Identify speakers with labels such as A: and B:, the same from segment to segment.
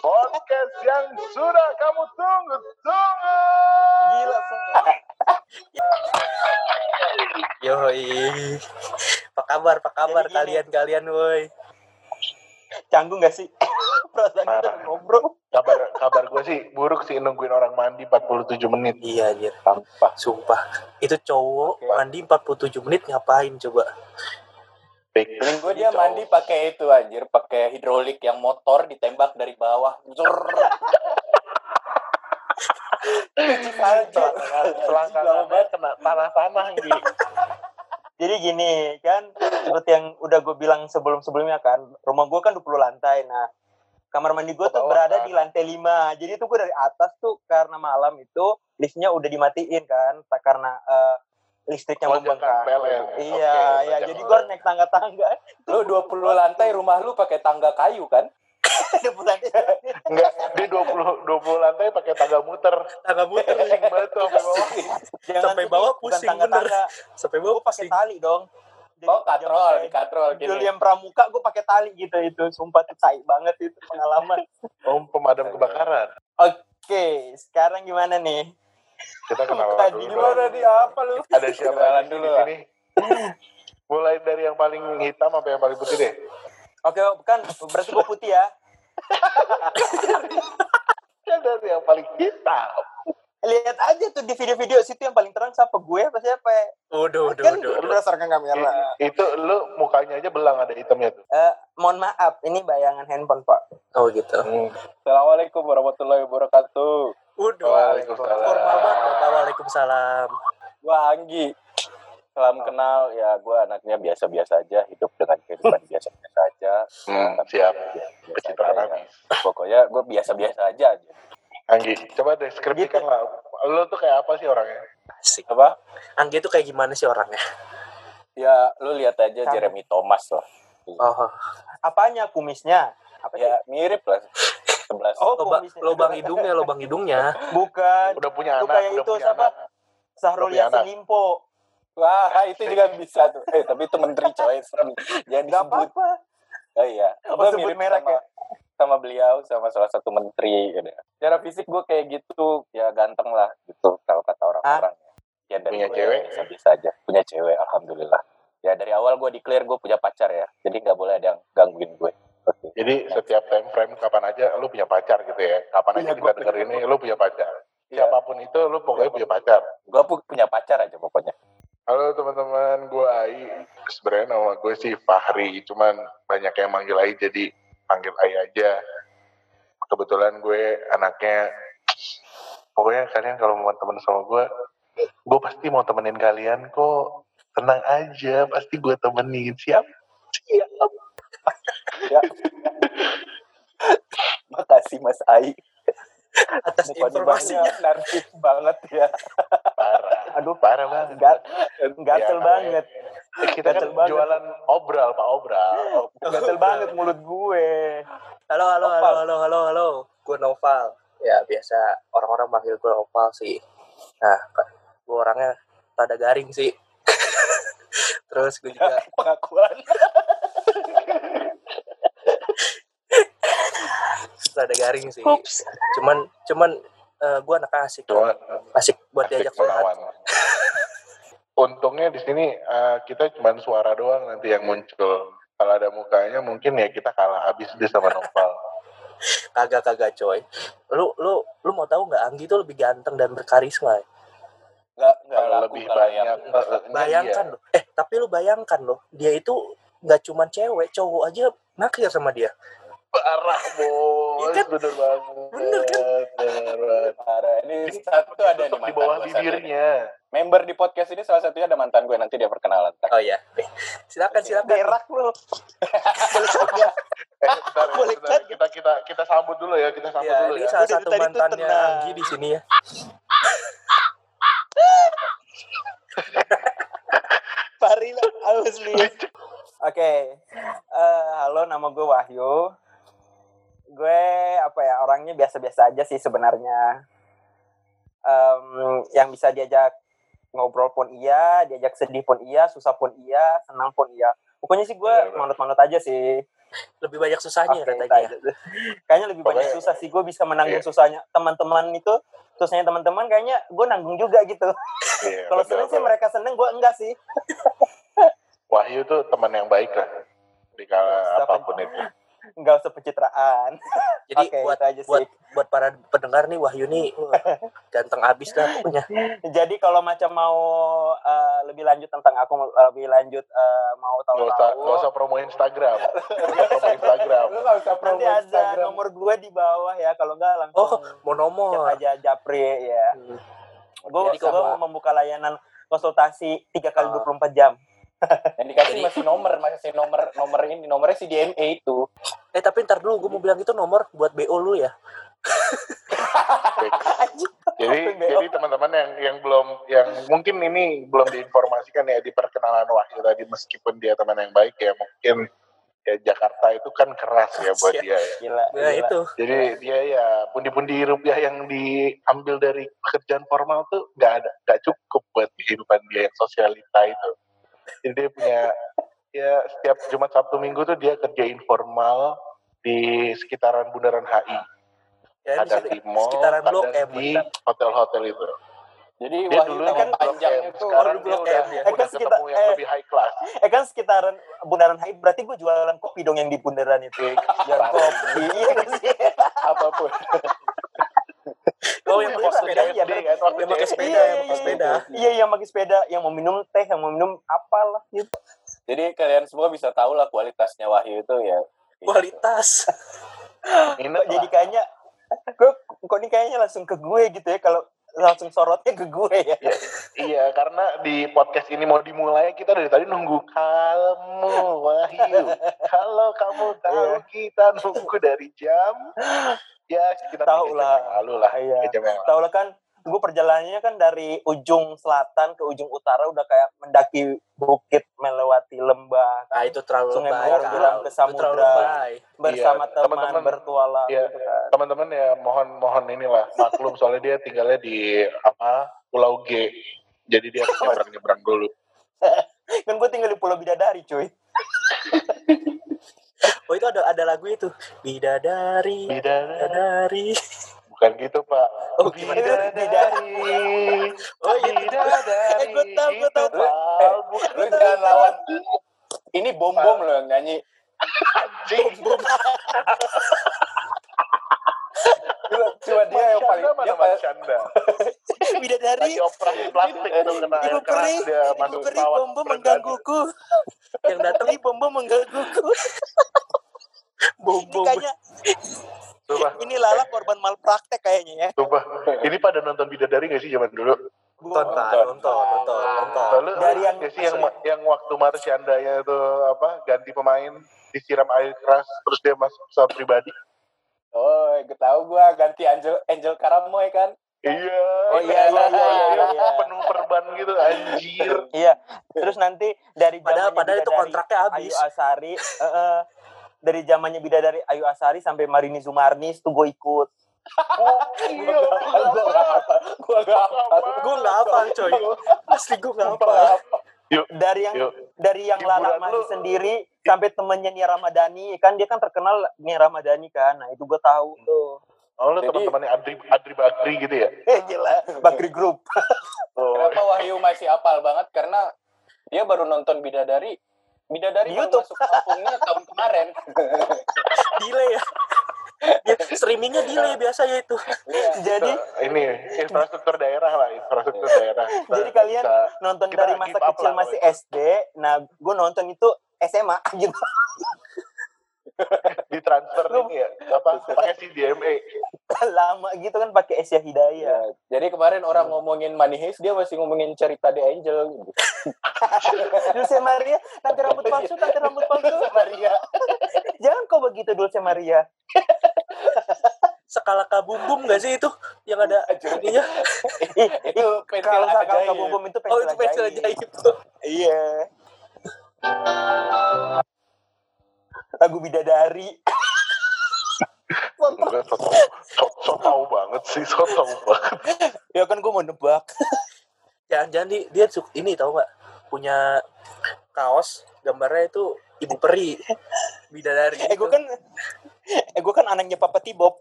A: podcast yang sudah kamu tunggu-tunggu.
B: Gila, Pak. Yoi. Apa kabar, apa kabar
C: Jadi gini.
B: kalian-kalian, woi?
C: Canggung gak sih? Perasaan kita
A: Parah.
C: ngobrol.
A: Kabar kabar gue sih buruk sih nungguin orang mandi 47 menit.
B: Iya, anjir.
A: Sampah.
B: Sumpah. Itu cowok
C: Oke.
B: mandi 47 menit ngapain coba?
A: Fake.
C: Mending gue dia mandi pakai itu anjir, pakai hidrolik yang motor ditembak dari bawah. Zur. Cuci salju. Lama
A: Selangkangannya
C: banget.
A: kena tanah-tanah gitu.
C: Jadi gini kan, seperti yang udah gue bilang sebelum-sebelumnya kan, rumah gue kan 20 lantai. Nah, kamar mandi gue tuh
A: Bawah,
C: berada
A: kan?
C: di lantai 5. Jadi tuh gue dari atas tuh karena malam itu liftnya udah dimatiin kan, tak karena eh, listriknya
A: Lonjakan
C: membengkak.
A: PLN.
C: Iya,
A: Oke,
C: iya.
A: lonjakan
C: Jadi gue
A: PLN.
C: naik tangga-tangga.
D: Lu 20 lantai rumah lu pakai tangga kayu kan?
C: Ada bulannya.
A: Enggak, dia 20 20 lantai pakai tangga muter.
B: Tangga muter.
A: Pusing banget tuh sampai bawah.
C: Jangan
B: Sampai
C: sedih,
B: bawah
C: bukan
B: pusing,
C: tangga-tangga.
B: Sampai
C: Gue
B: bawah
C: pakai
B: pusing.
C: tali dong. Jadi
D: Oh,
C: jangan
D: katrol, di
C: kayak
D: katrol gini.
C: Julian Pramuka gue pakai tali gitu itu. Sumpah tuh tai banget itu pengalaman.
A: Om pemadam kebakaran.
C: Oke, sekarang gimana nih?
A: Kita kenalan
C: Bukan,
A: dulu.
C: gimana
A: dong.
C: di apa lu?
A: Ada siapa
D: Kenalan
A: aja sih di
D: dulu lah.
A: sini? Mulai dari yang paling hitam sampai yang paling putih deh.
C: Oke, bukan berarti gue putih ya.
A: Ya dari yang paling hitam.
C: Lihat aja tuh di video-video situ yang paling terang siapa gue apa siapa. ya.
B: Waduh, waduh,
C: kan
B: waduh. waduh.
C: berdasarkan kamera.
A: I- itu lu mukanya aja belang ada hitamnya tuh.
C: Eh, mohon maaf, ini bayangan handphone pak.
B: Oh gitu.
D: Assalamualaikum warahmatullahi wabarakatuh.
B: Waduh.
A: Waalaikumsalam.
B: Formal banget. Waalaikumsalam.
D: Gua Anggi. Salam kenal, ya gua anaknya biasa-biasa aja, hidup dengan kehidupan biasa-biasa aja.
A: Hmm, siap.
D: Biasa
A: Pencitraan
D: aja,
A: habis.
D: ya. Pokoknya gua biasa-biasa aja.
A: Anggi, coba deskripsikan lah. Lu tuh kayak apa sih orangnya?
B: Asik.
D: Apa?
B: Anggi itu kayak gimana sih orangnya?
D: Ya lu lihat aja
C: Sama.
D: Jeremy Thomas lah.
B: Oh,
C: Apanya kumisnya? Apa sih?
D: Ya mirip lah. Sebelas.
C: Oh,
B: loba-
C: kumisnya.
B: lobang hidungnya, lobang hidungnya.
C: Bukan.
A: Udah punya
C: Lu
A: anak,
C: kayak
A: udah
C: itu,
A: punya
C: siapa?
A: anak.
C: Sahrul
A: Lebih anak.
C: Yassin Limpo.
D: Wah, itu juga bisa tuh. Eh, tapi itu menteri coy, serem. Jangan
C: Gak
D: disebut.
C: apa-apa.
D: Oh iya.
C: Apa
D: Gua
C: sebut
D: mirip
C: merek
D: sama,
C: ya?
D: sama beliau, sama salah satu menteri. Gitu. Cara fisik gue kayak gitu, ya ganteng lah gitu kalau kata orang-orang. Ya, dari
A: Punya
D: gua
A: cewek?
D: Bisa-bisa aja. Punya cewek, alhamdulillah. Ya dari awal gue declare gue punya pacar ya. Jadi nggak boleh ada yang gangguin gue. Oke.
A: Jadi setiap time frame kapan aja lu punya pacar gitu ya. Kapan aja
D: Iya,
A: kita
D: gua-
A: denger ini lu punya pacar.
D: Ya,
A: Siapapun itu lu pokoknya punya pacar.
D: gue punya pacar aja pokoknya.
A: Halo teman-teman, gue Ai. Sebenarnya nama gue sih Fahri, cuman banyak yang manggil Ai jadi panggil Ai aja. Kebetulan gue anaknya pokoknya kalian kalau mau temen sama gue, gue pasti mau temenin kalian kok. Tenang aja, pasti gue temenin. Siap? Siap.
D: Makasih Mas Ai.
B: Atas
D: Mukanya
B: informasinya.
D: banyak, Narsis banget ya.
A: Parah.
C: Aduh,
A: Parah banget.
C: gat-
A: Ya,
C: gatel
A: namanya.
C: banget.
A: Kita kan
C: gatel banget.
A: jualan obral, Pak Obral.
C: Gatel banget mulut gue.
B: Halo, halo, halo,
D: Opal.
B: halo, halo, halo. Gue Noval. Ya, biasa orang-orang panggil gue Noval sih. Nah, gue orangnya rada garing sih. Terus gue juga
D: Pengakuan.
B: rada garing sih. Cuman, cuman gue anak asik.
A: Cuma
B: Asik buat
A: Asik
B: diajak curhat.
A: menawan. Untungnya di sini eh, kita cuma suara doang nanti yang muncul. Kalau ada mukanya mungkin ya kita kalah habis deh sama Noval.
B: Kagak-kagak coy. Lu, lu, lu mau tahu nggak Anggi itu lebih ganteng dan berkarisma. ya?
D: Nggak, nggak
A: Kalau
D: laku ya.
A: lebih
D: kalau yang
A: banyak eh, eh,
B: Bayangkan loh. Eh, tapi lu bayangkan loh. Dia itu nggak cuman cewek, cowok aja naksir sama dia.
A: iya. parah bos,
B: Iya kan?
A: bener banget.
B: Bener kan?
A: Bener banget.
D: Parah. Ini satu ada nih
A: Tutup di
D: mantan
A: bawah
D: gua satu.
A: bibirnya.
D: Member di podcast ini salah satunya ada mantan gue nanti dia perkenalan.
B: Oh iya. Nih, Silakan, silakan.
C: Berak
A: Eh,
C: lu.
A: bentar, ya,
C: Boleh
A: bentar.
C: cut.
A: Kita kita kita sambut dulu ya, kita sambut
B: Ya,
A: dulu
B: ini
A: ya.
B: salah
C: Gua dari
B: satu
C: tadi tuh
B: mantannya
C: tenang.
B: Anggi di sini ya.
C: Paril asli. Oke. Eh, halo, nama gue Wahyu. Gue apa ya orangnya biasa-biasa aja sih sebenarnya. Em, yang bisa diajak ngobrol pun iya, diajak sedih pun iya, susah pun iya, senang pun iya. Pokoknya sih gue
A: Iya, Bro.
C: manut-manut aja sih.
B: lebih banyak
C: Oke,
B: susahnya katanya. ya.
C: itu aja. Kayaknya lebih banyak
A: Pokoknya-
C: susah sih. Gue bisa menanggung
A: Iya.
C: susahnya teman-teman itu. Susahnya teman-teman kayaknya gue nanggung juga gitu.
A: Iya,
C: Kalau
A: betul,
C: seneng sih
A: betul.
C: mereka seneng, gue enggak sih.
A: Wahyu tuh teman yang baik lah di kala
C: Siapa?
A: apapun itu.
C: Enggak usah pencitraan.
B: Jadi
C: Oke,
B: buat
C: itu aja
B: buat-
C: sih.
B: buat para pendengar nih Wahyu nih wah, ganteng abis dah pokoknya.
C: Jadi kalau macam mau eh, lebih lanjut tentang aku lebih lanjut eh, mau
A: Gak usah,
C: tahu-tahu.
A: gak usah promo Instagram. Gak usah promo Instagram.
D: Lu gak usah promo
C: Nanti ada
D: Instagram.
C: nomor gue di bawah ya. Kalau enggak langsung
B: Oh, mau
C: chat
B: nomor.
C: aja Japri ya.
B: Hmm.
C: Gue
B: Jadi kalau-
C: mau membuka layanan konsultasi 3 kali
B: Ah.
C: 24 jam.
D: Yang dikasih
B: Jadi-
D: masih nomor, masih nomor nomor ini, nomornya si DMA itu.
B: Eh tapi ntar dulu gue mau bilang itu nomor buat BO lu ya.
A: Fix. Jadi jadi teman-teman yang yang belum yang mungkin ini belum diinformasikan ya di perkenalan Wahyu tadi meskipun dia teman yang baik ya mungkin ya Jakarta itu kan keras ya buat dia ya.
C: Gila.
B: Ya
C: gila.
B: itu.
A: Jadi dia ya pundi-pundi rupiah yang diambil dari pekerjaan formal tuh nggak ada nggak cukup buat kehidupan dia yang sosialita itu. Jadi dia punya ya setiap Jumat Sabtu Minggu tuh dia kerja informal di sekitaran Bundaran HI,
B: Ya, ini
A: kadang
B: sek-
A: di mall,
B: sekitaran Blok
A: kadang
B: M.
A: di hotel-hotel itu.
D: Jadi
A: Dia
D: Wahyu
A: dulu
C: kan
D: tangan
A: yang Blok
D: panjangnya
A: M,
D: tuh
A: sekarang
B: Oh,
A: dia
B: Blok
A: udah,
B: M
C: Eh,
B: ya.
A: udah
C: kan kita-
A: ketemu yang
C: eh.
A: lebih high class.
C: Eh kan sekitaran Bundaran Hai berarti gue jualan kopi dong yang di bundaran itu. Jualan kopi. Iya kan sih?
D: apapun.
B: Oh yang
A: Yang
B: pakai
A: waktu
B: sepeda.
A: dia SD kan, waktu
B: Yang pakai
A: dia-
B: sepeda, yang pakai sepeda.
C: Iya, yang pakai sepeda, yang mau minum teh, yang mau minum apalah gitu.
D: Jadi kalian semua bisa tahu lah kualitasnya Wahyu itu ya.
B: Kualitas.
A: Minat
C: Kok jadi kayaknya kok, kok ini kayaknya langsung ke gue gitu ya kalau langsung sorotnya ke gue ya.
A: Iya, karena di podcast ini mau dimulai kita dari tadi nunggu kamu Wahyu. Kalau kamu tahu
C: Iya.
A: kita nunggu dari jam ya sekitar tiga
C: Tahu
A: jam
C: lah.
A: yang lalu lah.
C: Iya.
A: Tiga jam yang lalu.
C: Tahu lah kan gue perjalanannya kan dari ujung selatan ke ujung utara udah kayak mendaki bukit melewati lembah
B: Nah itu terlalu
C: Sungai
B: lebay.
C: Mawar
B: Kak.
C: bilang ke
B: Itu terlalu
C: samudra.
B: lebay.
C: bersama
A: Iya,
C: teman
A: teman-teman.
C: bertualang
A: Iya.
C: gitu kan.
A: Teman-teman ya mohon mohon inilah maklum soalnya dia tinggalnya di apa Pulau G. Jadi dia harus nyebrang-nyebrang dulu.
C: Kan gue tinggal di Pulau Bidadari cuy.
B: Oh itu ada ada lagu itu. Bidadari,
A: Bidadari.
B: bidadari.
A: Bukan gitu, Pak.
B: Oh, gimana?
A: Bidadari.
B: Oh iya. itu.
A: Bidadari.
B: Eh, gua tahu, gua tahu.
A: Gitu, Pak.
D: Eh, Lu jangan lawan. Ini bom bom lo yang nyanyi.
A: Anjing.
D: Cuma, cuma dia yang paling
A: Masyanda mana
D: dia paling
A: Masyanda?
B: Bidadari.
A: lagi operasi plastik tuh kena air
B: Ibu
A: keras
B: peri,
A: dia
B: ibu
A: masuk
B: peri
A: pesawat
B: bomba
A: berenang.
B: menggangguku. Yang datang nih bomba menggangguku.
C: Ini
B: Bombo.
C: kayaknya
A: Sumpah,
C: ini lala korban malpraktek kayaknya ya.
A: sumpah. Ini pada nonton bidadari gak sih zaman dulu?
B: Nonton, Pak.
D: Nonton.
B: Nonton, nonton, nonton.
A: Lalu
C: Dari yang-
A: gak sih yang yang waktu Marsyandanya itu apa ganti pemain disiram air keras terus dia masuk pesawat pribadi.
D: Oh, tahu gua ganti Angel Angel Karamoy kan.
A: Iya. gitu.
C: Oh, iya, iya, iya, iya, iya.
A: Penuh perban gitu anjir.
C: Iya. Terus nanti dari zamannya
B: Padahal padahal itu
C: Bidadari,
B: kontraknya habis.
C: Ayu Asari eh, eh, dari zamannya Bidadari Ayu Asari sampai Marini Sumarni itu gue ikut.
A: Iya.
D: Gua nggak apa. Gua nggak apa.
B: Gue nggak hafal coy. Asli gue nggak
D: Sumpah.
B: hafal.
C: Dari yang
A: Yuk.
C: dari yang Lala
A: Hiburan
C: masih
A: lu.
C: sendiri sampai temennya Nia Ramadhani kan dia kan terkenal Nia Ramadhani kan. Nah, itu gue tahu
B: Hmm.
C: tuh.
A: Oh, lu
D: Jadi-
A: teman-temannya Adri Adri Bagri gitu ya?
B: Ah.
C: Eh gila, Bakri Group.
A: Oh,
D: Kenapa Wahyu masih apal banget? Karena dia baru nonton Bidadari.
C: Di
D: Bidadari baru
C: YouTube.
D: masuk kampungnya tahun kemarin.
B: Delay ya. ya streamingnya delay biasanya itu.
D: Iya.
C: Jadi
A: ini infrastruktur daerah lah, infrastruktur daerah. Kita
C: Jadi kalian
A: bisa-
C: nonton
A: Kita
C: dari masa
A: give up
C: kecil
A: lah
C: masih
A: kalau
C: SD. Nah, gue nonton itu SMA gitu.
A: ditransfer
C: Lu-
A: ini ya apa pakai CDMA
C: Lama gitu kan pakai Asia
D: Iya.
C: Hidayah.
D: Jadi kemarin orang
C: Hmm.
D: ngomongin Money Heist, dia masih ngomongin cerita The Angel. Gitu.
C: Dulce Maria, nanti rambut palsu, nanti rambut palsu.
D: Maria.
C: Jangan kau begitu Dulce Maria.
B: Skala kabumbum gak sih itu? Yang ada ininya.
C: Ih,
D: Itu pensil
C: kalau kalau
D: ajaib.
C: kamu bom itu
B: Oh
C: pensil
B: itu pensil
C: ajaib.
B: ajaib.
C: Iya. Lagu Bidadari.
A: Enggak, so, tau- so, so tau banget sih so tau banget
C: Ya kan gue mau nebak.
B: Jangan-jangan di- dia suka ini tau gak? Punya kaos gambarnya itu ibu peri bidadari
C: Eh gue kan Eh gue kan anaknya Papa Tibob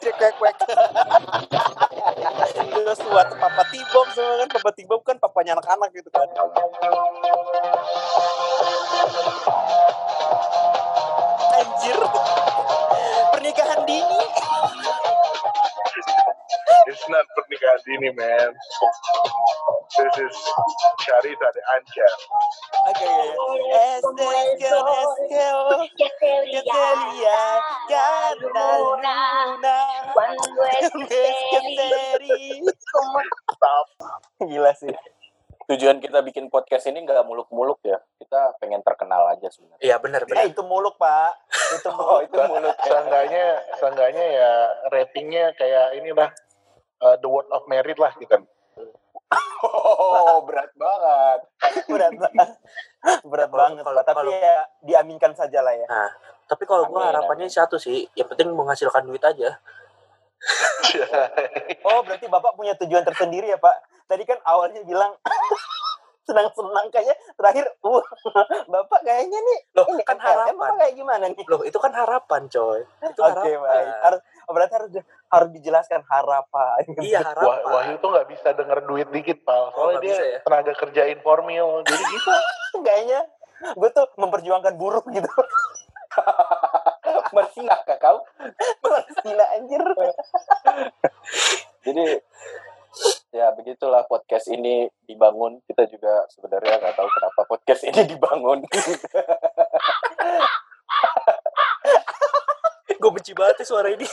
B: cek kwek
C: Terus buat Papa Tibob semua kan Papa Tibob kan papanya anak-anak gitu kan Anjir Pernikahan dini
A: It's not pernikahan dini, man. This is Carita de Anca.
C: Oke okay. Eskel Eskel
E: que te
C: Ketelia Karena
E: Luna.
C: Luna
E: ya, cuando
C: Mes
E: estés
C: Keteri
E: como
C: Gila sih
D: Tujuan kita bikin podcast ini nggak muluk-muluk ya. Kita pengen terkenal aja sebenarnya.
B: iya benar
C: Eh
B: benar
C: itu muluk pak Itu
D: Oh,
C: muluk
D: itu mulut.
A: Seenggaknya, seenggaknya ya ratingnya kayak inilah uh, the word of merit lah gitu.
D: Oh, berat banget.
C: berat ba- berat
B: Kalau-
C: banget
B: kalau-
C: Pak. tapi
B: kalau-
C: ya diaminkan saja lah ya
B: tapi kalau gue
D: Amin,
B: harapannya satu sih yang penting menghasilkan duit aja
C: oh berarti bapak punya tujuan tersendiri ya pak tadi kan awalnya bilang senang-senang kayaknya terakhir wah bapak kayaknya nih
B: loh
C: ini
B: kan
C: MLM apa
B: harapan
C: kayak gimana nih
B: loh itu kan harapan coy itu kan
C: oke
B: harapan
C: baik harus oh, berarti harus di- harus dijelaskan harapan
B: iya
A: Wah,
B: harapan
A: Wahyu tuh nggak bisa denger duit dikit, pal. Soalnya
B: Oh, nggak
A: dia
B: bisa ya?
A: tenaga kerja informal. Jadi gitu.
C: kayaknya gue tuh memperjuangkan buruh gitu
D: Mersina kah kau?
C: gila anjir
D: Jadi ya begitulah podcast ini dibangun. Kita juga sebenarnya nggak tahu kenapa podcast ini dibangun.
B: gue benci banget ya suara ini